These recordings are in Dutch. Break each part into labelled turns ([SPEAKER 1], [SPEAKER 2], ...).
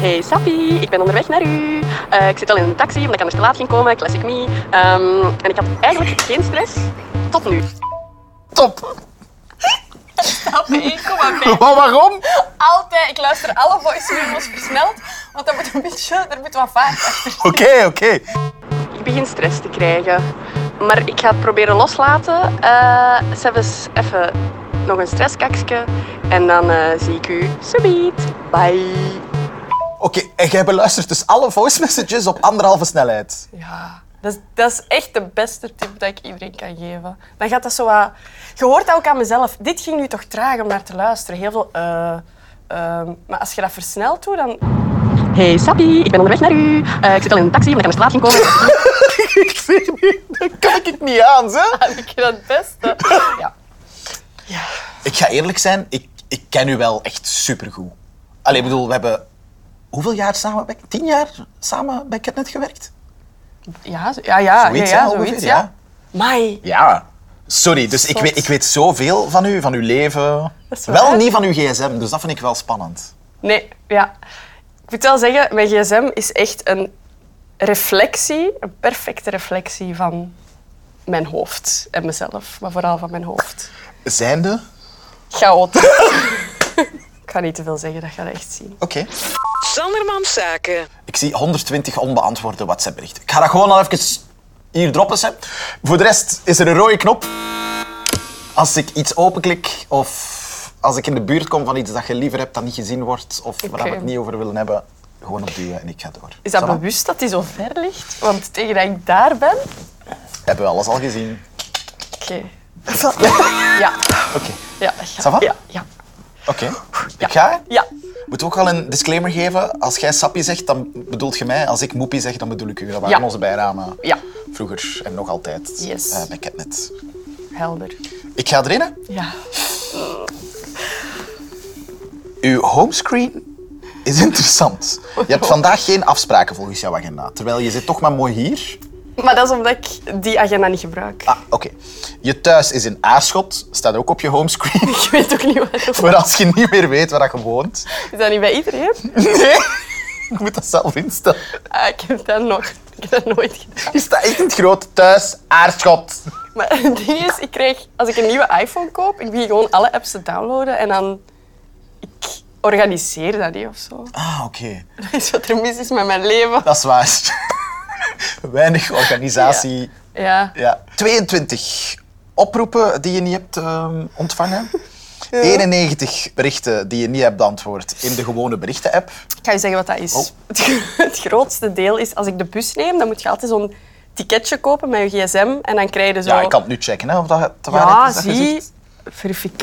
[SPEAKER 1] Hey Sappie, ik ben onderweg naar u. Eh, ik zit al in een taxi omdat ik anders te laat ging komen. Classic me. Ehm, en ik had eigenlijk geen stress tot nu.
[SPEAKER 2] Top.
[SPEAKER 3] Stap 1,5.
[SPEAKER 2] Maar waarom?
[SPEAKER 3] Altijd. Ik luister alle voice memos versneld, want dat moet een beetje, er moet wat vaart achter.
[SPEAKER 2] Oké, oké.
[SPEAKER 1] Ik begin stress te krijgen. Maar ik ga het proberen loslaten. Eh zelfs even nog een stresskakje. En dan eh, zie ik u. Subiet. Bye.
[SPEAKER 2] Oké, en jij beluistert dus alle voice messages op anderhalve snelheid.
[SPEAKER 3] Ja, dat is, dat is echt de beste tip dat ik iedereen kan geven. Dan gaat dat zo wat... Je hoort dat ook aan mezelf. Dit ging nu toch traag om naar te luisteren. Heel veel... eh, ehm, maar als je dat versneld doet, dan...
[SPEAKER 1] Hey Sappie, ik ben onderweg naar u. Eh, ik zit al in een taxi omdat ik anders te laat ging komen.
[SPEAKER 2] ik zie niet, dat kan ik niet aan, zeg.
[SPEAKER 3] Dan ik je dat het beste. Ah, Ja.
[SPEAKER 2] Ik ga eerlijk zijn, ik, ik ken u wel echt supergoed. Alleen, bedoel, we hebben hoeveel jaar samen bij... Tien jaar samen bij Ketnet gewerkt?
[SPEAKER 3] Ja, zo- ja, ja.
[SPEAKER 2] Zoiets,
[SPEAKER 3] ja, ja,
[SPEAKER 2] hè, ongeveer,
[SPEAKER 3] zoiets,
[SPEAKER 2] ja.
[SPEAKER 3] ja. Mai.
[SPEAKER 2] Ja. Sorry, dus ik
[SPEAKER 3] Zot.
[SPEAKER 2] weet, ik weet zoveel van u, van uw leven.
[SPEAKER 3] Dat is waar.
[SPEAKER 2] Wel niet van uw gsm, dus dat vind ik wel spannend.
[SPEAKER 3] Nee, ja. Ik moet wel zeggen, mijn gsm is echt een reflectie, een perfecte reflectie van mijn hoofd en mezelf, maar vooral van mijn hoofd.
[SPEAKER 2] Zijnde?
[SPEAKER 3] Chaotisch. ik ga niet te veel zeggen, dat ga je echt zien.
[SPEAKER 2] Oké.
[SPEAKER 4] Sandermans Zaken.
[SPEAKER 2] Ik zie 120 onbeantwoorde WhatsApp-berichten. Ik ga dat gewoon al even hier droppen. Hè. Voor de rest is er een rode knop. Als ik iets openklik of als ik in de buurt kom van iets dat je liever hebt dat niet gezien wordt of waar we
[SPEAKER 3] Oké.
[SPEAKER 2] het niet over willen hebben, gewoon op duwen en ik ga door.
[SPEAKER 3] Is dat
[SPEAKER 2] Voilà.
[SPEAKER 3] bewust dat die zo ver ligt? Want tegen dat ik daar ben...
[SPEAKER 2] Hebben we alles al gezien?
[SPEAKER 3] Oké. Ja.
[SPEAKER 2] Oké.
[SPEAKER 3] Ja, dat gaat.
[SPEAKER 2] Ça va?
[SPEAKER 3] Ja. Ja.
[SPEAKER 2] Oké. Ik ga. hè?
[SPEAKER 3] ja.
[SPEAKER 2] Moeten we ook al een disclaimer geven? Als jij sappie zegt, dan bedoelt je mij. Als ik moepie zeg, dan bedoel ik u. Dat waren
[SPEAKER 3] Ja.
[SPEAKER 2] onze bijnamen
[SPEAKER 3] Ja.
[SPEAKER 2] vroeger en nog altijd
[SPEAKER 3] Yes.
[SPEAKER 2] eh, bij Catnet.
[SPEAKER 3] Helder.
[SPEAKER 2] Ik ga erin. hè.
[SPEAKER 3] Ja.
[SPEAKER 2] Uw homescreen is interessant. Je hebt vandaag geen afspraken volgens jouw agenda. Terwijl je zit toch maar mooi hier.
[SPEAKER 3] Maar dat is omdat ik die agenda niet gebruik.
[SPEAKER 2] Ah, oké. Je thuis is in Aarschot. Staat ook op je homescreen.
[SPEAKER 3] Ik weet ook niet waarom.
[SPEAKER 2] Voor als je niet meer weet waar je woont.
[SPEAKER 3] Is dat niet bij iedereen?
[SPEAKER 2] Nee. Ik moet dat zelf instellen.
[SPEAKER 3] Ah, ik heb dat nog. Ik heb dat nooit gedaan.
[SPEAKER 2] Je staat echt in het groot thuis Aarschot.
[SPEAKER 3] Maar het ding is, ik kreeg, als ik een nieuwe iPhone koop, ik begin gewoon alle apps te downloaden en dan ik organiseer dat niet of zo.
[SPEAKER 2] Ah, oké.
[SPEAKER 3] Dat is wat er mis is met mijn leven.
[SPEAKER 2] Dat is waar. Weinig organisatie.
[SPEAKER 3] Ja.
[SPEAKER 2] Ja. 22 oproepen die je niet hebt ehm, ontvangen. 91 berichten die je niet hebt beantwoord in de gewone berichten-app.
[SPEAKER 3] Ik ga je zeggen wat dat is.
[SPEAKER 2] Oh.
[SPEAKER 3] Het, gro- het grootste deel is, als ik de bus neem, dan moet je altijd zo'n ticketje kopen met je gsm en dan krijg je zo...
[SPEAKER 2] Ja, ik kan het nu checken hè, of dat te waarheid
[SPEAKER 3] Ja,
[SPEAKER 2] is. dat je
[SPEAKER 3] zie.
[SPEAKER 2] zegt.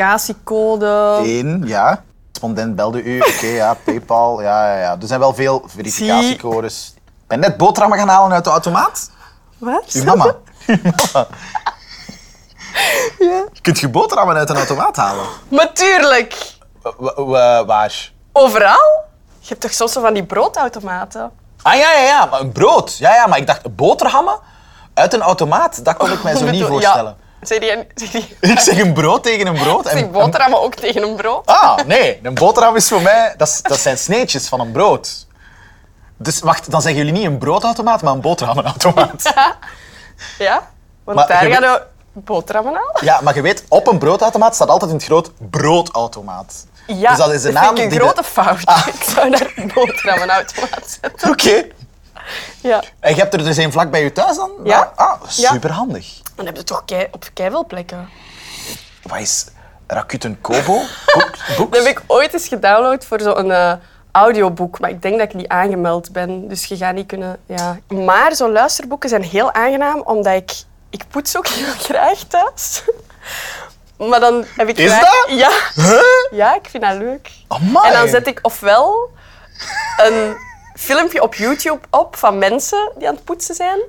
[SPEAKER 3] Verificatiecode.
[SPEAKER 2] Eén, ja. Respondent belde u. Oké, ja, PayPal. Ja, ja, ja. Er zijn wel veel verificatiecodes. Ik ben net boterhammen gaan halen uit de automaat.
[SPEAKER 3] Wat?
[SPEAKER 2] Uw mama. Uw mama. Kunt je boterhammen uit een automaat halen?
[SPEAKER 3] Natuurlijk.
[SPEAKER 2] Wa- wa- waar?
[SPEAKER 3] Overal? Je hebt toch soms zo van die broodautomaten?
[SPEAKER 2] Ah ja, ja, ja, maar een brood. Ja, ja, maar ik dacht boterhammen uit een automaat. Dat kon ik mij zo niet
[SPEAKER 3] Ja.
[SPEAKER 2] voorstellen.
[SPEAKER 3] Zeg die- zeg die-
[SPEAKER 2] Ik zeg een brood tegen een brood. En,
[SPEAKER 3] Zeg boterhammen ook tegen een brood?
[SPEAKER 2] en- ah, nee, een boterham is voor mij, dat, is- dat zijn sneetjes van een brood. Dus wacht, dan zeggen jullie niet een broodautomaat, maar een boterhammenautomaat.
[SPEAKER 3] Ja? Want
[SPEAKER 2] Maar
[SPEAKER 3] daar
[SPEAKER 2] je
[SPEAKER 3] gaan we boterhammen aan.
[SPEAKER 2] Ja, maar je weet, op een broodautomaat staat altijd in het groot broodautomaat.
[SPEAKER 3] Ja,
[SPEAKER 2] dus dat is de
[SPEAKER 3] vind
[SPEAKER 2] naam
[SPEAKER 3] ik een
[SPEAKER 2] die de-
[SPEAKER 3] grote fout.
[SPEAKER 2] Ah.
[SPEAKER 3] Ik zou daar boterhammenautomaat zetten.
[SPEAKER 2] Oké.
[SPEAKER 3] Ja.
[SPEAKER 2] En je hebt er dus één vlak bij je thuis dan?
[SPEAKER 3] Ja.
[SPEAKER 2] Ah,
[SPEAKER 3] Ja.
[SPEAKER 2] superhandig.
[SPEAKER 3] Dan heb je toch kei, op keiveel plekken.
[SPEAKER 2] Wat is Rakuten Kobo? Boek, boek?
[SPEAKER 3] Dat heb ik ooit eens gedownload voor zo'n eh, audioboek, maar ik denk dat ik niet aangemeld ben. Dus je gaat niet kunnen... Ja. Maar zo'n luisterboeken zijn heel aangenaam, omdat ik... Ik poets ook heel graag thuis. Maar dan heb ik...
[SPEAKER 2] Is
[SPEAKER 3] graag-
[SPEAKER 2] dat?
[SPEAKER 3] Ja.
[SPEAKER 2] Huh?
[SPEAKER 3] Ja, ik vind dat leuk.
[SPEAKER 2] Amai.
[SPEAKER 3] En dan zet ik ofwel een filmpje op YouTube op van mensen die aan het poetsen zijn,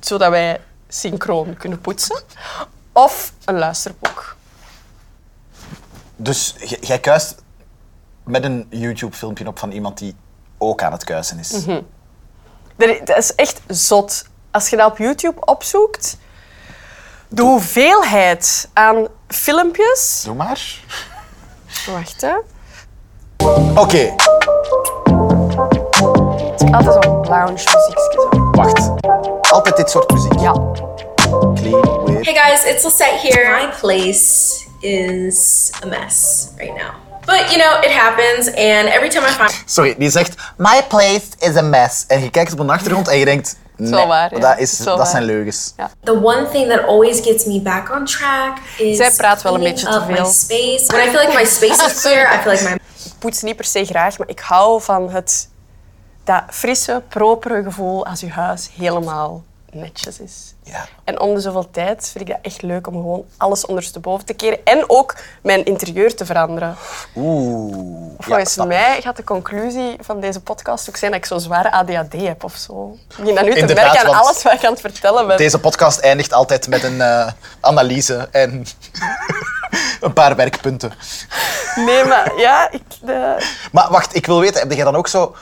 [SPEAKER 3] zodat wij synchroon kunnen poetsen, of een luisterboek.
[SPEAKER 2] Dus j- jij kuist met een YouTube-filmpje op van iemand die ook aan het kuisen is.
[SPEAKER 3] Mhm. Er- Dat is echt zot. Als je dat op YouTube opzoekt, de hoeveelheid aan filmpjes.
[SPEAKER 2] Doe maar.
[SPEAKER 3] Wacht hè.
[SPEAKER 2] Oké.
[SPEAKER 3] Altijd zo'n lounge muziekje. Zo.
[SPEAKER 2] Wacht. Altijd dit soort muziek.
[SPEAKER 3] Ja.
[SPEAKER 2] Clean, weird.
[SPEAKER 5] Hey guys, it's Lisette here. My place is a mess right now. But you know, it happens, and every time I find
[SPEAKER 2] Sorry, die zegt, my place is a mess. En je kijkt op een achtergrond en je denkt, nee,
[SPEAKER 3] wel waar, ja.
[SPEAKER 2] dat, is,
[SPEAKER 3] Het is wel
[SPEAKER 2] dat zijn
[SPEAKER 3] waar.
[SPEAKER 2] leugens.
[SPEAKER 5] the one thing that always gets me back on track is
[SPEAKER 3] Zij praat wel een
[SPEAKER 5] cleaning
[SPEAKER 3] beetje te
[SPEAKER 5] up my
[SPEAKER 3] veel.
[SPEAKER 5] space. When I feel like my space is clear, I feel like my
[SPEAKER 3] Ik poets niet per se graag, maar ik hou van het dat frisse, propere gevoel als je huis helemaal netjes is.
[SPEAKER 2] Ja.
[SPEAKER 3] En om de zoveel tijd vind ik dat echt leuk om gewoon alles ondersteboven te keren en ook mijn interieur te veranderen.
[SPEAKER 2] Oeh.
[SPEAKER 3] Volgens
[SPEAKER 2] Ja, dat-
[SPEAKER 3] mij gaat de conclusie van deze podcast ook zijn dat ik zo zwaar ADHD heb of zo. Ik begin dat nu te
[SPEAKER 2] Inderdaad,
[SPEAKER 3] merken aan
[SPEAKER 2] want
[SPEAKER 3] alles wat ik aan het vertellen ben.
[SPEAKER 2] Deze podcast eindigt altijd met een eh, analyse en een paar werkpunten.
[SPEAKER 3] Nee, maar ja, ik... eh,
[SPEAKER 2] Maar wacht, ik wil weten, heb jij dan ook zo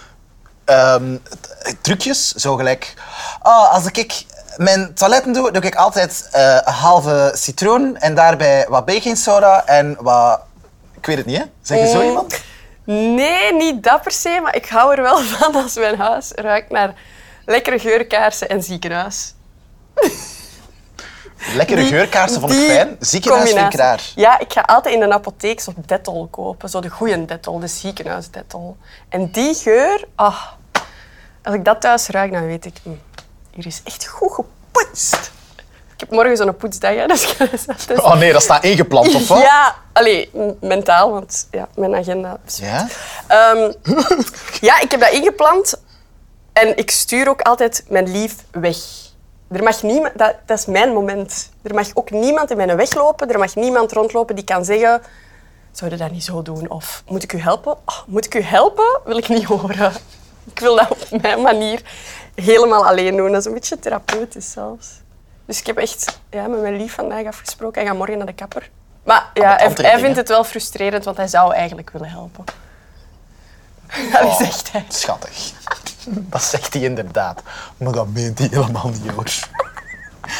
[SPEAKER 2] ehm, t- trucjes? Zo gelijk, ah, als ik mijn toiletten doe, doe ik altijd eh, een halve citroen en daarbij wat baking soda en wat... Ik weet het niet, hè? Zeg je zo
[SPEAKER 3] Eh,
[SPEAKER 2] iemand?
[SPEAKER 3] Nee, niet dat per se, maar ik hou er wel van als mijn huis ruikt naar lekkere geurkaarsen en ziekenhuis.
[SPEAKER 2] Lekkere
[SPEAKER 3] Die-
[SPEAKER 2] geurkaarsen vond ik
[SPEAKER 3] die
[SPEAKER 2] fijn. Ziekenhuis vind ik
[SPEAKER 3] combinatie.
[SPEAKER 2] raar.
[SPEAKER 3] Ja, ik ga altijd in de apotheek zo'n dettol kopen. Zo de goede dettol, de ziekenhuisdettol. En die geur, ah, als ik dat thuis ruik, dan weet ik, mm, hier is echt goed gepoetst. Ik heb morgen zo'n poetsdag, hè, dus ik ga eens even-
[SPEAKER 2] Oh nee, dat staat ingeplant, of wat?
[SPEAKER 3] Ja, allee, m- mentaal, want ja, mijn agenda is
[SPEAKER 2] Ja?
[SPEAKER 3] Ehm, ja, ik heb dat ingepland. En ik stuur ook altijd mijn lief weg. Er mag niemand, dat, dat is mijn moment. Er mag ook niemand in mijn weg lopen. Er mag niemand rondlopen die kan zeggen... Zou je dat niet zo doen? Of moet ik u helpen? Oh, moet ik u helpen? Wil ik niet horen. Ik wil dat op mijn manier helemaal alleen doen. Dat is een beetje therapeutisch zelfs. Dus ik heb echt ja, met mijn lief vandaag afgesproken. Hij gaat morgen naar de kapper. Maar ja,
[SPEAKER 2] met
[SPEAKER 3] hij,
[SPEAKER 2] andere
[SPEAKER 3] hij
[SPEAKER 2] dingen.
[SPEAKER 3] vindt het wel frustrerend, want hij zou eigenlijk willen helpen. Dat is echt hij.
[SPEAKER 2] Schattig. Dat zegt hij inderdaad. Maar dat meent hij helemaal niet hoor.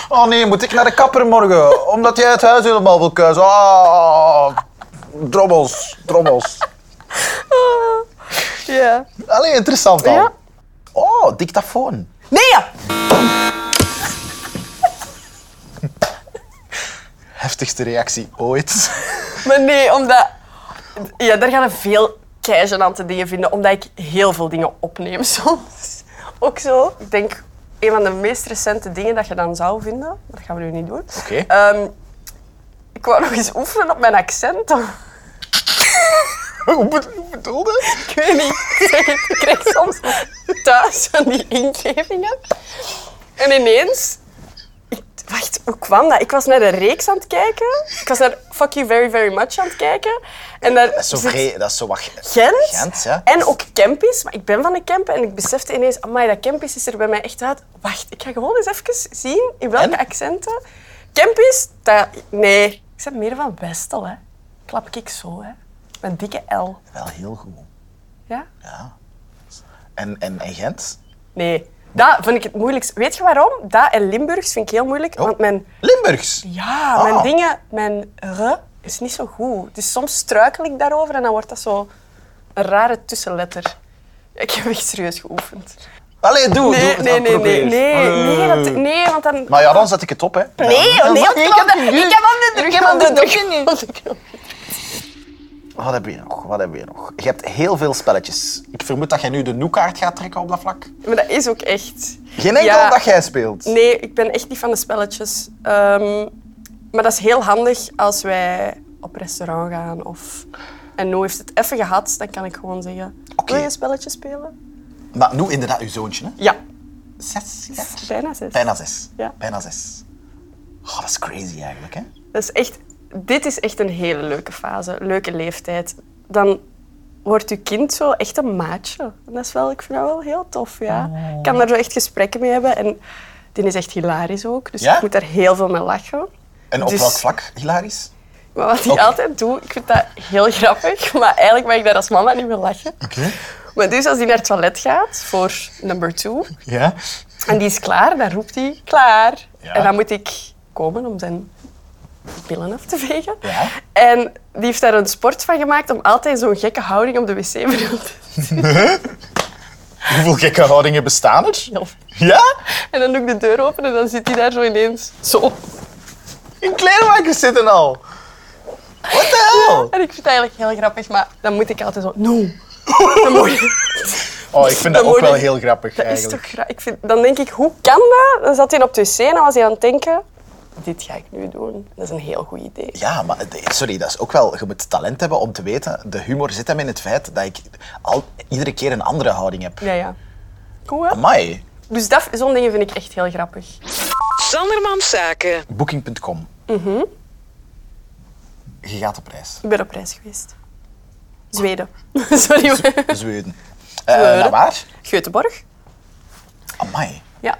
[SPEAKER 2] Oh nee, moet ik naar de kapper morgen? Omdat jij het huis helemaal wil kuisen. Ah, drommels, drommels.
[SPEAKER 3] Oh. Ja.
[SPEAKER 2] Allee, interessant dan.
[SPEAKER 3] Ja.
[SPEAKER 2] Oh, dictafoon.
[SPEAKER 3] Nee! ja.
[SPEAKER 2] Heftigste reactie ooit.
[SPEAKER 3] Maar nee, omdat... Ja, daar gaan er veel keigenante dingen vinden, omdat ik heel veel dingen opneem soms. Ook zo. Ik denk, een van de meest recente dingen dat je dan zou vinden, maar dat gaan we nu niet doen.
[SPEAKER 2] Oké.
[SPEAKER 3] Ehm, ik wou nog eens oefenen op mijn accent.
[SPEAKER 2] Hoe bedo- hoe bedoelde?
[SPEAKER 3] Ik weet niet. Ik zeg het, Ik krijg soms thuis van die ingevingen. En ineens... ik- Wacht, hoe kwam dat? Ik was naar de reeks aan het kijken. Ik was naar Fuck You Very Very Much aan het kijken. En daar
[SPEAKER 2] Dat is zo
[SPEAKER 3] zit
[SPEAKER 2] vre- dat is zo wacht.
[SPEAKER 3] Gent.
[SPEAKER 2] Gent, ja.
[SPEAKER 3] En ook Kempis. Maar ik ben van de Kempen en ik besefte ineens... Amai, dat Kempis is er bij mij echt uit. Wacht, ik ga gewoon eens even zien in welke
[SPEAKER 2] En?
[SPEAKER 3] accenten... Kempis, dat... Nee. Ik ben meer van Westel, hè. Klap ik zo, hè. Met dikke L.
[SPEAKER 2] Wel heel goed.
[SPEAKER 3] Ja?
[SPEAKER 2] En, en, en Gent?
[SPEAKER 3] Nee. Dat vind ik het moeilijkst. Weet je waarom? Dat en Limburgs vind ik heel moeilijk.
[SPEAKER 2] Oh.
[SPEAKER 3] Want mijn,
[SPEAKER 2] Limburgs.
[SPEAKER 3] ja,
[SPEAKER 2] Ah.
[SPEAKER 3] mijn dingen, mijn r is niet zo goed. Dus soms struikel ik daarover en dan wordt dat zo een rare tussenletter. Ik heb echt serieus geoefend.
[SPEAKER 2] Allee, doe. doe
[SPEAKER 3] Nee,
[SPEAKER 2] het
[SPEAKER 3] nee,
[SPEAKER 2] dan,
[SPEAKER 3] nee, nee,
[SPEAKER 2] probeer.
[SPEAKER 3] nee, nee, dat, nee, want dan...
[SPEAKER 2] Maar ja, dan zet ik het op, hè.
[SPEAKER 3] Nee,
[SPEAKER 2] Ja.
[SPEAKER 3] nee,
[SPEAKER 2] Maar
[SPEAKER 3] want ik heb dat- ik heb hem de druk. Ik heb hem de druk.
[SPEAKER 2] Wat heb je nog? Wat heb je nog? Je hebt heel veel spelletjes. Ik vermoed dat jij nu de noekaart gaat trekken op dat vlak.
[SPEAKER 3] Maar dat is ook echt...
[SPEAKER 2] Geen enkel
[SPEAKER 3] Ja.
[SPEAKER 2] dat jij speelt.
[SPEAKER 3] Nee, ik ben echt niet van de spelletjes. Ehm, maar dat is heel handig als wij op restaurant gaan of... En nu heeft het even gehad, dan kan ik gewoon zeggen...
[SPEAKER 2] Oké.
[SPEAKER 3] Wil je een spelletje spelen?
[SPEAKER 2] Maar nu inderdaad, uw zoontje, hè?
[SPEAKER 3] Ja.
[SPEAKER 2] Zes jaar?
[SPEAKER 3] Bijna zes.
[SPEAKER 2] Bijna zes.
[SPEAKER 3] Ja.
[SPEAKER 2] Bijna zes. Oh, dat is crazy eigenlijk, hè?
[SPEAKER 3] Dat is echt, dit is echt een hele leuke fase, leuke leeftijd. Dan wordt uw kind zo echt een maatje. En dat is wel, ik vind dat wel heel tof, ja.
[SPEAKER 2] Oh.
[SPEAKER 3] Ik kan daar zo echt gesprekken mee hebben. En die is echt hilarisch ook, dus
[SPEAKER 2] Ja?
[SPEAKER 3] ik moet daar heel veel mee lachen.
[SPEAKER 2] En op
[SPEAKER 3] Dus-
[SPEAKER 2] welk vlak, hilarisch?
[SPEAKER 3] Maar wat ik
[SPEAKER 2] Oké.
[SPEAKER 3] altijd doe, ik vind dat heel grappig, maar eigenlijk mag ik daar als mama niet meer lachen. Maar dus als hij naar het toilet gaat voor number two
[SPEAKER 2] Ja.
[SPEAKER 3] en die is klaar, dan roept hij klaar.
[SPEAKER 2] Ja.
[SPEAKER 3] En dan moet ik komen om zijn pillen af te vegen.
[SPEAKER 2] Ja.
[SPEAKER 3] En die heeft daar een sport van gemaakt om altijd zo'n gekke houding op de wc-bril te doen.
[SPEAKER 2] Hoeveel gekke houdingen bestaan er?
[SPEAKER 3] Heel veel.
[SPEAKER 2] Ja?
[SPEAKER 3] En dan doe ik de deur open en dan zit hij daar zo ineens. Zo.
[SPEAKER 2] In kleermakers zitten al. What the hell?
[SPEAKER 3] En ik vind het eigenlijk heel grappig, maar dan moet ik altijd zo. No. Dan moet je-
[SPEAKER 2] Oh, ik vind dat
[SPEAKER 3] Dan
[SPEAKER 2] ook
[SPEAKER 3] moet
[SPEAKER 2] wel
[SPEAKER 3] ik-
[SPEAKER 2] heel grappig
[SPEAKER 3] Dat is
[SPEAKER 2] eigenlijk.
[SPEAKER 3] toch gra- ik vind, Dan denk ik, hoe kan dat? Dan zat hij op de wc en dan was hij aan het denken. Dit ga ik nu doen. Dat is een heel goed idee.
[SPEAKER 2] Ja, maar de- sorry, dat is ook wel. Je moet talent hebben om te weten. De humor zit hem in het feit dat ik al, iedere keer een andere houding heb.
[SPEAKER 3] Ja, ja. Cool, hè?
[SPEAKER 2] Amai.
[SPEAKER 3] Dus dat, zo'n dingen vind ik echt heel grappig.
[SPEAKER 4] Sandermans Zaken.
[SPEAKER 2] Booking.com.
[SPEAKER 3] Mhm.
[SPEAKER 2] Je gaat op reis.
[SPEAKER 3] Ik ben op reis geweest. Zweden. Sorry
[SPEAKER 2] Dus-
[SPEAKER 3] hoor.
[SPEAKER 2] Zweden. Eh
[SPEAKER 3] Zweden.
[SPEAKER 2] naar waar?
[SPEAKER 3] Göteborg.
[SPEAKER 2] Amai.
[SPEAKER 3] Ja.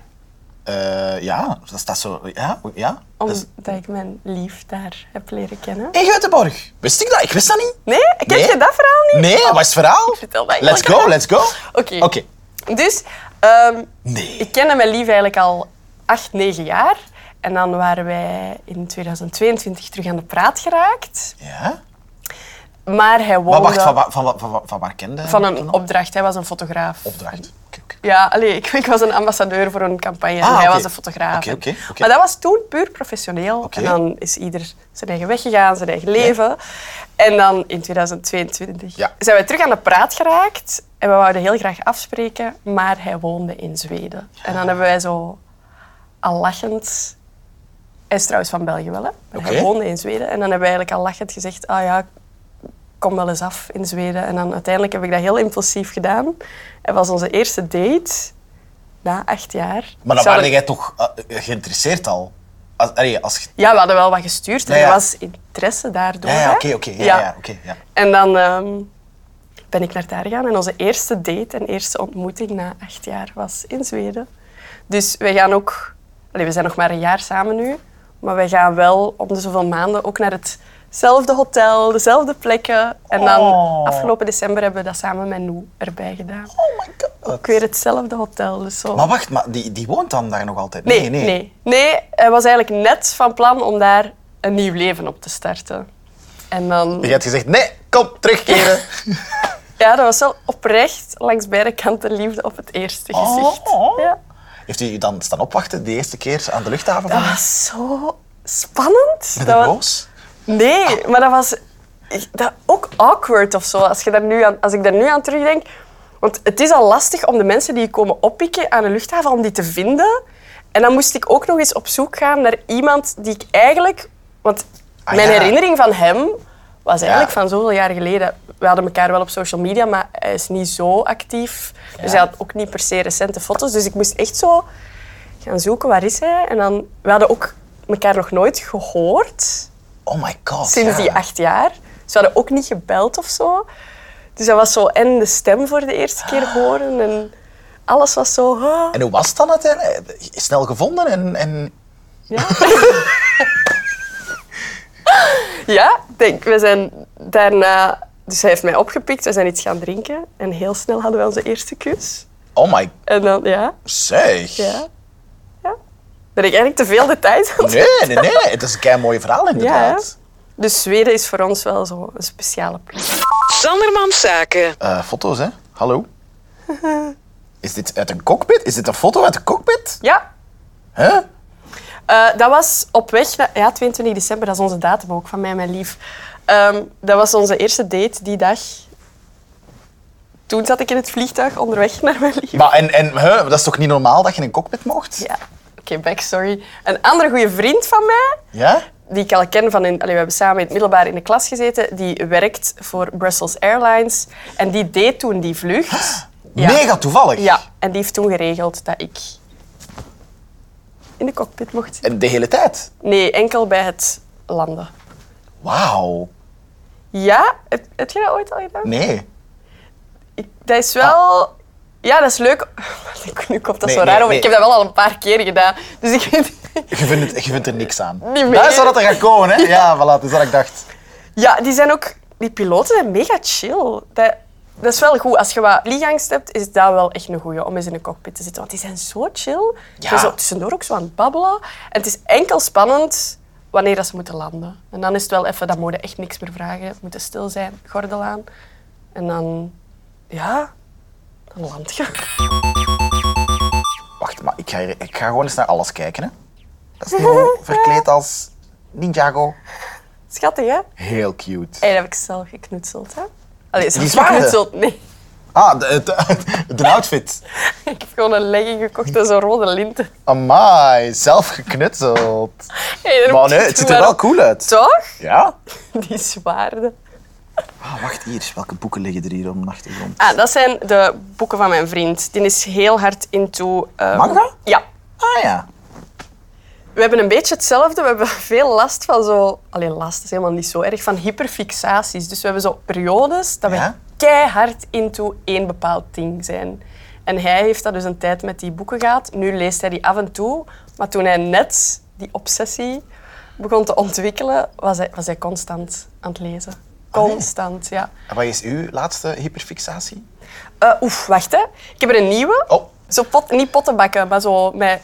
[SPEAKER 2] Eh, ja, dat staat zo. Ja, ja. Dat is-
[SPEAKER 3] Omdat ik mijn lief daar heb leren kennen.
[SPEAKER 2] In Göteborg. Wist ik dat? Ik wist dat niet.
[SPEAKER 3] Nee? Ken
[SPEAKER 2] Eh, Nee.
[SPEAKER 3] je dat verhaal niet? Oh.
[SPEAKER 2] Nee, wat is het verhaal?
[SPEAKER 3] vertel dat
[SPEAKER 2] Let's
[SPEAKER 3] heel
[SPEAKER 2] go,
[SPEAKER 3] graag.
[SPEAKER 2] let's go.
[SPEAKER 3] Oké.
[SPEAKER 2] Oké.
[SPEAKER 3] Dus ehm,
[SPEAKER 2] Nee.
[SPEAKER 3] ik kende mijn lief eigenlijk al acht, negen jaar. En dan waren wij in 2022 terug aan de praat geraakt.
[SPEAKER 2] Ja?
[SPEAKER 3] Maar hij woonde
[SPEAKER 2] Maar wacht, van, wa- van, wa- van, wa- van waar kende hij
[SPEAKER 3] eh, van
[SPEAKER 2] toen
[SPEAKER 3] een
[SPEAKER 2] al?
[SPEAKER 3] opdracht. Hij was een fotograaf.
[SPEAKER 2] opdracht. Oké, oké.
[SPEAKER 3] Ja, allee, ik, ik was een ambassadeur voor een campagne en
[SPEAKER 2] Ah,
[SPEAKER 3] hij
[SPEAKER 2] oké.
[SPEAKER 3] was de fotograaf.
[SPEAKER 2] Oké, oké, oké.
[SPEAKER 3] Maar dat was toen puur professioneel.
[SPEAKER 2] Oké.
[SPEAKER 3] En dan is ieder zijn eigen weg gegaan, zijn eigen leven. En dan in 2022
[SPEAKER 2] Ja.
[SPEAKER 3] zijn we terug aan de praat geraakt. En we wouden heel graag afspreken, maar hij woonde in Zweden. En dan hebben wij zo al lachend... Hij is trouwens van België wel, hè? Maar hij
[SPEAKER 2] Oké.
[SPEAKER 3] woonde in Zweden. En dan hebben we eigenlijk al lachend gezegd... Ah ja, kom wel eens af in Zweden. En dan uiteindelijk heb ik dat heel impulsief gedaan. Het was onze eerste date na acht jaar.
[SPEAKER 2] Maar
[SPEAKER 3] Ik
[SPEAKER 2] dan
[SPEAKER 3] zou
[SPEAKER 2] waren
[SPEAKER 3] er-
[SPEAKER 2] jij toch eh, eh, geïnteresseerd al? Als, allee, als, je-
[SPEAKER 3] Ja, we hadden wel wat gestuurd en
[SPEAKER 2] Ja, ja.
[SPEAKER 3] er was interesse daardoor.
[SPEAKER 2] ja, ja,
[SPEAKER 3] hè.
[SPEAKER 2] oké, oké. ja, ja, ja, oké, ja.
[SPEAKER 3] En dan ehm, ben ik naar daar gegaan en onze eerste date en eerste ontmoeting na acht jaar was in Zweden. Dus wij gaan ook, allee, we zijn nog maar een jaar samen nu, maar wij gaan wel om de zoveel maanden ook naar hetzelfde hotel, dezelfde plekken. En dan
[SPEAKER 2] Oh.
[SPEAKER 3] afgelopen december hebben we dat samen met Noe erbij gedaan.
[SPEAKER 2] Oh my god.
[SPEAKER 3] Ook weer hetzelfde hotel. Dus zo.
[SPEAKER 2] Maar wacht, maar die, die woont dan daar nog altijd?
[SPEAKER 3] nee, nee, nee. hij was eigenlijk net van plan om daar een nieuw leven op te starten. En dan...
[SPEAKER 2] Je hebt gezegd, nee, kom, terugkeren.
[SPEAKER 3] Ja, dat was wel oprecht langs beide kanten liefde op het eerste
[SPEAKER 2] Oh.
[SPEAKER 3] gezicht. Ja.
[SPEAKER 2] Heeft u dan staan opwachten, die eerste keer aan de luchthaven?
[SPEAKER 3] Dat
[SPEAKER 2] Van,
[SPEAKER 3] was zo spannend.
[SPEAKER 2] ben je
[SPEAKER 3] dat was-
[SPEAKER 2] boos?
[SPEAKER 3] Nee, maar dat was dat, ook awkward of zo. Als, je daar nu aan, als ik daar nu aan terugdenk. Want het is al lastig om de mensen die je komen oppikken aan de luchthaven, om die te vinden. En dan moest ik ook nog eens op zoek gaan naar iemand die ik eigenlijk... Want
[SPEAKER 2] Ah,
[SPEAKER 3] mijn
[SPEAKER 2] ja.
[SPEAKER 3] herinnering van hem was eigenlijk
[SPEAKER 2] Ja.
[SPEAKER 3] van zoveel jaar geleden. We hadden elkaar wel op social media, maar hij is niet zo actief. Dus hij had ook niet per se recente foto's. Dus ik moest echt zo gaan zoeken, waar is hij? En dan, we hadden ook elkaar nog nooit gehoord
[SPEAKER 2] Oh my god.
[SPEAKER 3] sinds
[SPEAKER 2] ja.
[SPEAKER 3] die acht jaar. Ze hadden ook niet gebeld of zo. Dus dat was zo en de stem voor de eerste keer horen en alles was zo. ah.
[SPEAKER 2] En hoe was het dan uiteindelijk? Eh, Snel gevonden en... en...
[SPEAKER 3] Ja. ja, ik denk, we zijn daarna. Dus hij heeft mij opgepikt, we zijn iets gaan drinken en heel snel hadden we onze eerste kus.
[SPEAKER 2] Oh my,
[SPEAKER 3] En dan, ja,
[SPEAKER 2] zeg.
[SPEAKER 3] ja. ja. Ben ik eigenlijk te veel details aan het
[SPEAKER 2] Nee, nee, nee. Het is een kei mooi verhaal inderdaad.
[SPEAKER 3] Dus Zweden is voor ons wel zo een speciale plek.
[SPEAKER 4] Sandermans Zaken.
[SPEAKER 2] Eh, foto's, hè? Hallo. Is dit uit een cockpit? Is dit een foto uit een cockpit?
[SPEAKER 3] Ja,
[SPEAKER 2] Huh?
[SPEAKER 3] Eh, dat was op weg naar... Ja, 22 december, dat is onze datum ook, van mij en mijn lief. Ehm, dat was onze eerste date die dag. Toen zat ik in het vliegtuig onderweg naar mijn lief.
[SPEAKER 2] Maar en, en huh? dat is toch niet normaal dat je in een cockpit mocht?
[SPEAKER 3] Ja, oké, backstory. Een andere goede vriend van mij,
[SPEAKER 2] Ja?
[SPEAKER 3] die ik al ken van... In, allee, we hebben samen in het middelbaar in de klas gezeten. Die werkt voor Brussels Airlines. En die deed toen die vlucht. Ja.
[SPEAKER 2] Mega toevallig.
[SPEAKER 3] Ja, en die heeft toen geregeld dat ik in de cockpit mocht zitten.
[SPEAKER 2] En de hele tijd.
[SPEAKER 3] Nee, enkel bij het landen.
[SPEAKER 2] Wauw.
[SPEAKER 3] Ja, heb, heb je dat ooit al gedaan?
[SPEAKER 2] Nee.
[SPEAKER 3] Ik- dat is wel... Ja, dat is leuk. Nu komt dat
[SPEAKER 2] Nee,
[SPEAKER 3] zo raar
[SPEAKER 2] nee,
[SPEAKER 3] over.
[SPEAKER 2] nee.
[SPEAKER 3] Ik heb dat wel al een paar keer gedaan. Dus ik weet...
[SPEAKER 2] Je vindt, het- je vindt er niks aan.
[SPEAKER 3] meer.
[SPEAKER 2] Dat is wat dat er gaat komen, hè? Ja, voilà, dat is wat ik dacht.
[SPEAKER 3] Ja, die zijn ook... Die piloten zijn mega chill. Dat, dat is wel goed. Als je wat vliegangst hebt, is dat wel echt een goeie om eens in een cockpit te zitten. Want die zijn zo chill. Ze zijn zo tussendoor ook zo aan het babbelen. En het is enkel spannend wanneer dat ze moeten landen. En dan is het wel even... Dan mogen echt niks meer vragen. Moeten stil zijn, gordel aan. En dan... Ja... dan land je.
[SPEAKER 2] Wacht, maar ik ga, hier- ik ga gewoon eens naar alles kijken. Hè. Dat is Snow verkleed als Ninjago.
[SPEAKER 3] Schattig, hè?
[SPEAKER 2] Heel cute.
[SPEAKER 3] Hey, dat heb ik zelf geknutseld, hè? Allee, zelf
[SPEAKER 2] zwaarde?
[SPEAKER 3] geknutseld, nee.
[SPEAKER 2] Ah, de, de, de outfit.
[SPEAKER 3] Ik heb gewoon een legging gekocht en zo'n rode linten.
[SPEAKER 2] Amai, zelf geknutseld.
[SPEAKER 3] Hey, daar
[SPEAKER 2] Maar
[SPEAKER 3] moet je
[SPEAKER 2] nee, het
[SPEAKER 3] toe
[SPEAKER 2] ziet er wel
[SPEAKER 3] aan-
[SPEAKER 2] cool uit.
[SPEAKER 3] Toch?
[SPEAKER 2] Ja?
[SPEAKER 3] Die zwaarden.
[SPEAKER 2] Ah, wacht hier, welke boeken liggen er hier om de achtergrond?
[SPEAKER 3] Ah, dat zijn de boeken van mijn vriend. Die is heel hard into... eh,
[SPEAKER 2] Manga?
[SPEAKER 3] Ja.
[SPEAKER 2] Ah ja.
[SPEAKER 3] We hebben een beetje hetzelfde. We hebben veel last van zo... Alleen last is helemaal niet zo erg. Van hyperfixaties. Dus we hebben zo periodes dat
[SPEAKER 2] Ja?
[SPEAKER 3] we keihard into één bepaald ding zijn. En hij heeft dat dus een tijd met die boeken gehad. Nu leest hij die af en toe. Maar toen hij net die obsessie begon te ontwikkelen, was hij, was hij constant aan het lezen.
[SPEAKER 2] Ah,
[SPEAKER 3] Constant, ja.
[SPEAKER 2] En wat is uw laatste hyperfixatie?
[SPEAKER 3] Eh, Oef, wacht hè. Ik heb er een nieuwe.
[SPEAKER 2] Oh.
[SPEAKER 3] Zo pot, niet pottenbakken, maar zo met...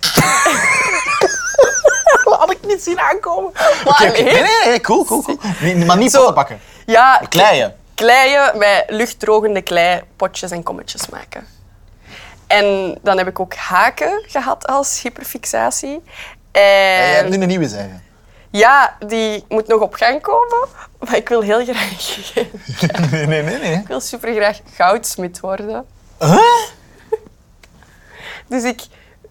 [SPEAKER 2] Had ik niet zien aankomen. Oké, oké.
[SPEAKER 3] allee.
[SPEAKER 2] nee, nee, nee, cool, cool, cool. Nee, maar niet
[SPEAKER 3] Zo.
[SPEAKER 2] potten pakken.
[SPEAKER 3] Ja,
[SPEAKER 2] Kleien.
[SPEAKER 3] kleien met luchtdrogende kleipotjes en kommetjes maken. En dan heb ik ook haken gehad als hyperfixatie.
[SPEAKER 2] En jij
[SPEAKER 3] En
[SPEAKER 2] hebt nu een nieuwe zeggen.
[SPEAKER 3] ja, die moet nog op gang komen, maar ik wil heel graag, ik
[SPEAKER 2] nee, nee, nee. nee.
[SPEAKER 3] wil supergraag goudsmit worden.
[SPEAKER 2] Huh?
[SPEAKER 3] Dus ik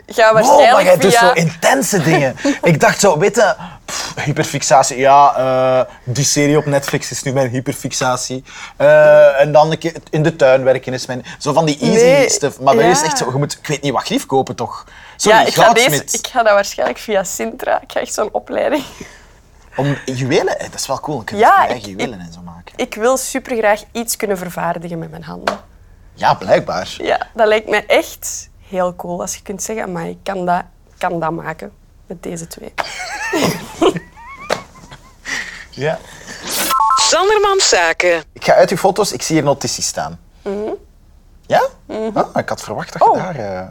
[SPEAKER 3] ga
[SPEAKER 2] Wow,
[SPEAKER 3] waarschijnlijk
[SPEAKER 2] maar jij doet
[SPEAKER 3] via...
[SPEAKER 2] zo intense dingen. ik dacht zo, weet je, pff, hyperfixatie. Ja, eh, die serie op Netflix is nu mijn hyperfixatie. Eh, en dan een keer in de tuin werken is mijn... Zo van die easy
[SPEAKER 3] Nee,
[SPEAKER 2] stuff. Maar bij u is het
[SPEAKER 3] ja.
[SPEAKER 2] echt zo, je moet, ik weet niet wat grief kopen toch? Sorry,
[SPEAKER 3] ja, ik ga, deze,
[SPEAKER 2] goudsmid.
[SPEAKER 3] ik ga dat waarschijnlijk via Sintra. Ik ga echt zo'n opleiding
[SPEAKER 2] Om juwelen, eh, dat is wel cool. Dan kun je
[SPEAKER 3] Ja,
[SPEAKER 2] je
[SPEAKER 3] ik-
[SPEAKER 2] eigen
[SPEAKER 3] ik-
[SPEAKER 2] juwelen en zo maken.
[SPEAKER 3] Ik wil supergraag iets kunnen vervaardigen met mijn handen.
[SPEAKER 2] Ja, blijkbaar.
[SPEAKER 3] Ja, dat lijkt me echt heel cool. Als je kunt zeggen, maar ik kan dat, kan dat maken met deze twee.
[SPEAKER 2] Ja.
[SPEAKER 4] Sandermans Zaken.
[SPEAKER 2] Ik ga uit uw foto's, ik zie hier notities staan.
[SPEAKER 3] Mhm.
[SPEAKER 2] Ja? Ah, ik had verwacht
[SPEAKER 3] Oh.
[SPEAKER 2] dat je daar... eh,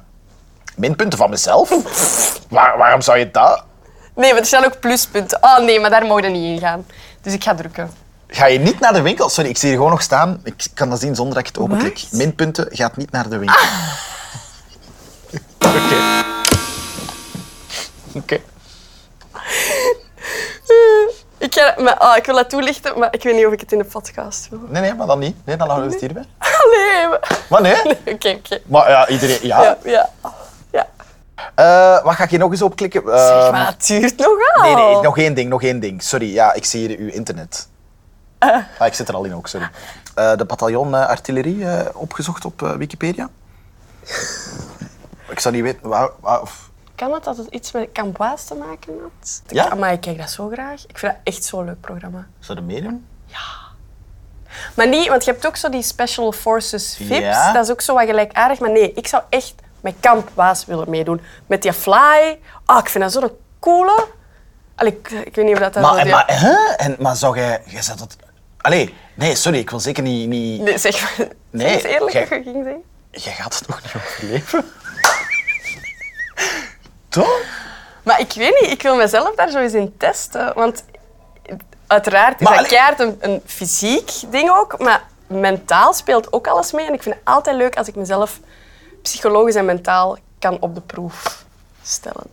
[SPEAKER 2] minpunten van mezelf? Waar- waarom zou je dat...
[SPEAKER 3] Nee, maar er staan ook pluspunten. Oh nee, maar daar mogen we niet in gaan. Dus ik ga drukken.
[SPEAKER 2] Ga je niet naar de winkel? Sorry, ik zie hier gewoon nog staan. Ik kan dat zien zonder dat ik het openklik. Minpunten gaat niet naar de winkel. Ah. Oké. Oké.
[SPEAKER 3] Ik, ga, maar, oh, ik wil dat toelichten, maar ik weet niet of ik het in de podcast wil.
[SPEAKER 2] Nee, nee, maar dan niet. Nee, dan houden we het hierbij.
[SPEAKER 3] Nee, maar-
[SPEAKER 2] Maar nee.
[SPEAKER 3] Oké, oké.
[SPEAKER 2] Maar ja, iedereen... Ja.
[SPEAKER 3] Ja, ja. ja.
[SPEAKER 2] Eh, wat ga ik hier nog eens opklikken?
[SPEAKER 3] Zeg
[SPEAKER 2] Ehm,
[SPEAKER 3] maar, het duurt nogal.
[SPEAKER 2] Nee, nee, nog één ding, nog één ding. Sorry, ja, ik zie hier uw internet. Ah, ik zit er al in ook, sorry. Eh, de bataljon eh, artillerie eh, opgezocht op eh, Wikipedia. ik zou niet weten waar... waar- of-
[SPEAKER 3] Kan het dat het iets met Camboise te maken had?
[SPEAKER 2] Ja.
[SPEAKER 3] Maar ik kijk dat zo graag. Ik vind dat echt zo'n leuk programma.
[SPEAKER 2] Is dat een medium?
[SPEAKER 3] Maar niet, want je hebt ook zo die Special Forces VIPs.
[SPEAKER 2] Ja.
[SPEAKER 3] Dat is ook zo wat gelijkaardig. Maar nee, ik zou echt met Kamp Waas willen meedoen. Met die fly. Ah, ik vind dat zo'n coole... Allee, ik, ik weet niet of dat... dat
[SPEAKER 2] Maar,
[SPEAKER 3] zo
[SPEAKER 2] en,
[SPEAKER 3] die-
[SPEAKER 2] maar, hè? En, maar zou jij... Jij zou dat... Allee, nee, sorry, ik wil zeker niet... niet...
[SPEAKER 3] Nee, zeg maar.
[SPEAKER 2] Nee,
[SPEAKER 3] Is het eerlijk
[SPEAKER 2] jij-
[SPEAKER 3] wat je ging zeggen?
[SPEAKER 2] Jij gaat het toch niet overleven? Toch?
[SPEAKER 3] Maar ik weet niet, ik wil mezelf daar zo eens in testen. Want uiteraard is
[SPEAKER 2] Maar
[SPEAKER 3] dat
[SPEAKER 2] allee-
[SPEAKER 3] keihard een, een fysiek ding ook. Maar mentaal speelt ook alles mee. En ik vind het altijd leuk als ik mezelf psychologisch en mentaal kan op de proef stellen.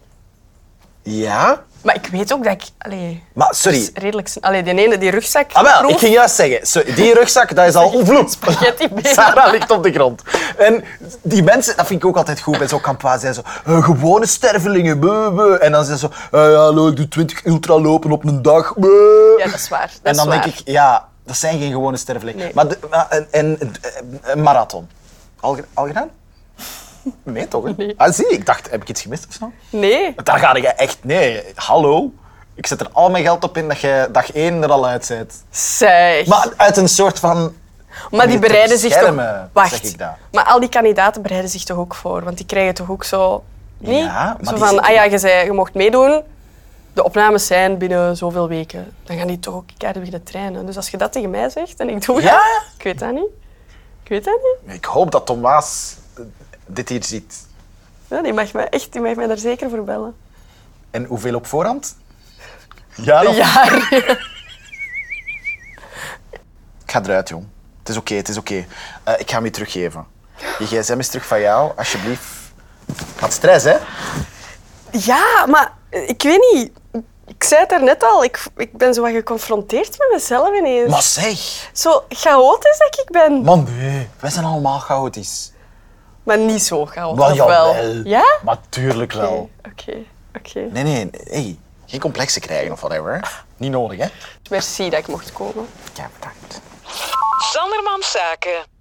[SPEAKER 2] Ja?
[SPEAKER 3] Maar ik weet ook dat ik... Allee,
[SPEAKER 2] Maar sorry.
[SPEAKER 3] dat is redelijk... sn- Allee, die ene, die rugzak...
[SPEAKER 2] Ah wel,
[SPEAKER 3] proef,
[SPEAKER 2] ik ging juist zeggen, sorry, die rugzak, dat is al onvloep.
[SPEAKER 3] Spaghetti benen.
[SPEAKER 2] Sarah ligt op de grond. En die mensen, dat vind ik ook altijd goed bij zo'n kampa, zijn zo, eh, gewone stervelingen, beu, beu. En dan zijn ze zo, eh, hallo, ik doe 20 ultralopen op een dag, beu.
[SPEAKER 3] Ja, dat is waar. Dat
[SPEAKER 2] en
[SPEAKER 3] is
[SPEAKER 2] dan
[SPEAKER 3] waar.
[SPEAKER 2] denk ik, ja, dat zijn geen gewone stervelingen.
[SPEAKER 3] Nee.
[SPEAKER 2] Maar, de- maar een, een, een- een marathon. Al, ge- al gedaan? Nee, toch? hè? Ah, zie, ik dacht, heb ik iets gemist of zo?
[SPEAKER 3] Nee.
[SPEAKER 2] Daar ga je echt, nee, hallo. Ik zet er al mijn geld op in dat je dag één er al uit bent.
[SPEAKER 3] Zeg. Maar,
[SPEAKER 2] Maar uit een soort van.
[SPEAKER 3] die
[SPEAKER 2] Om je te
[SPEAKER 3] bereiden zich toch...
[SPEAKER 2] beschermen,
[SPEAKER 3] Wacht.
[SPEAKER 2] zeg ik dat.
[SPEAKER 3] Maar al die kandidaten bereiden zich toch ook voor? Want die krijgen toch ook zo... Nee?
[SPEAKER 2] maar
[SPEAKER 3] zo
[SPEAKER 2] die
[SPEAKER 3] van,
[SPEAKER 2] zitten-
[SPEAKER 3] ah ja, je, zei, je mocht meedoen. De opnames zijn binnen zoveel weken. Dan gaan die toch ook keihard beginnen trainen. Dus als je dat tegen mij zegt en ik doe
[SPEAKER 2] Ja?
[SPEAKER 3] dat... Ik weet dat niet. Ik weet dat niet.
[SPEAKER 2] Ik hoop dat Tom Waas eh, dit hier ziet.
[SPEAKER 3] Ja, die, mag mij echt, die mag mij daar zeker voor bellen.
[SPEAKER 2] En hoeveel op voorhand? Ja, of-
[SPEAKER 3] Ja.
[SPEAKER 2] Ik ga eruit, jong. Het is oké, het is oké. Eh, ik ga hem je teruggeven. Je gsm is terug van jou, alsjeblieft. Wat stress, hè?
[SPEAKER 3] Ja, maar eh, ik weet niet. Ik zei het daarnet al, ik, ik ben zo wat geconfronteerd met mezelf ineens.
[SPEAKER 2] Maar zeg,
[SPEAKER 3] Zo chaotisch dat ik ben.
[SPEAKER 2] man, nee. Wij zijn allemaal chaotisch.
[SPEAKER 3] Maar niet zo chaotisch,
[SPEAKER 2] Maar
[SPEAKER 3] of wel?
[SPEAKER 2] jawel.
[SPEAKER 3] Ja?
[SPEAKER 2] Maar tuurlijk wel.
[SPEAKER 3] Oké, oké, oké.
[SPEAKER 2] Nee, nee, nee. Hey, geen complexen krijgen of whatever. Niet nodig, hè?
[SPEAKER 3] Merci dat ik mocht komen.
[SPEAKER 2] Ja, bedankt.
[SPEAKER 4] Sanderman Zaken.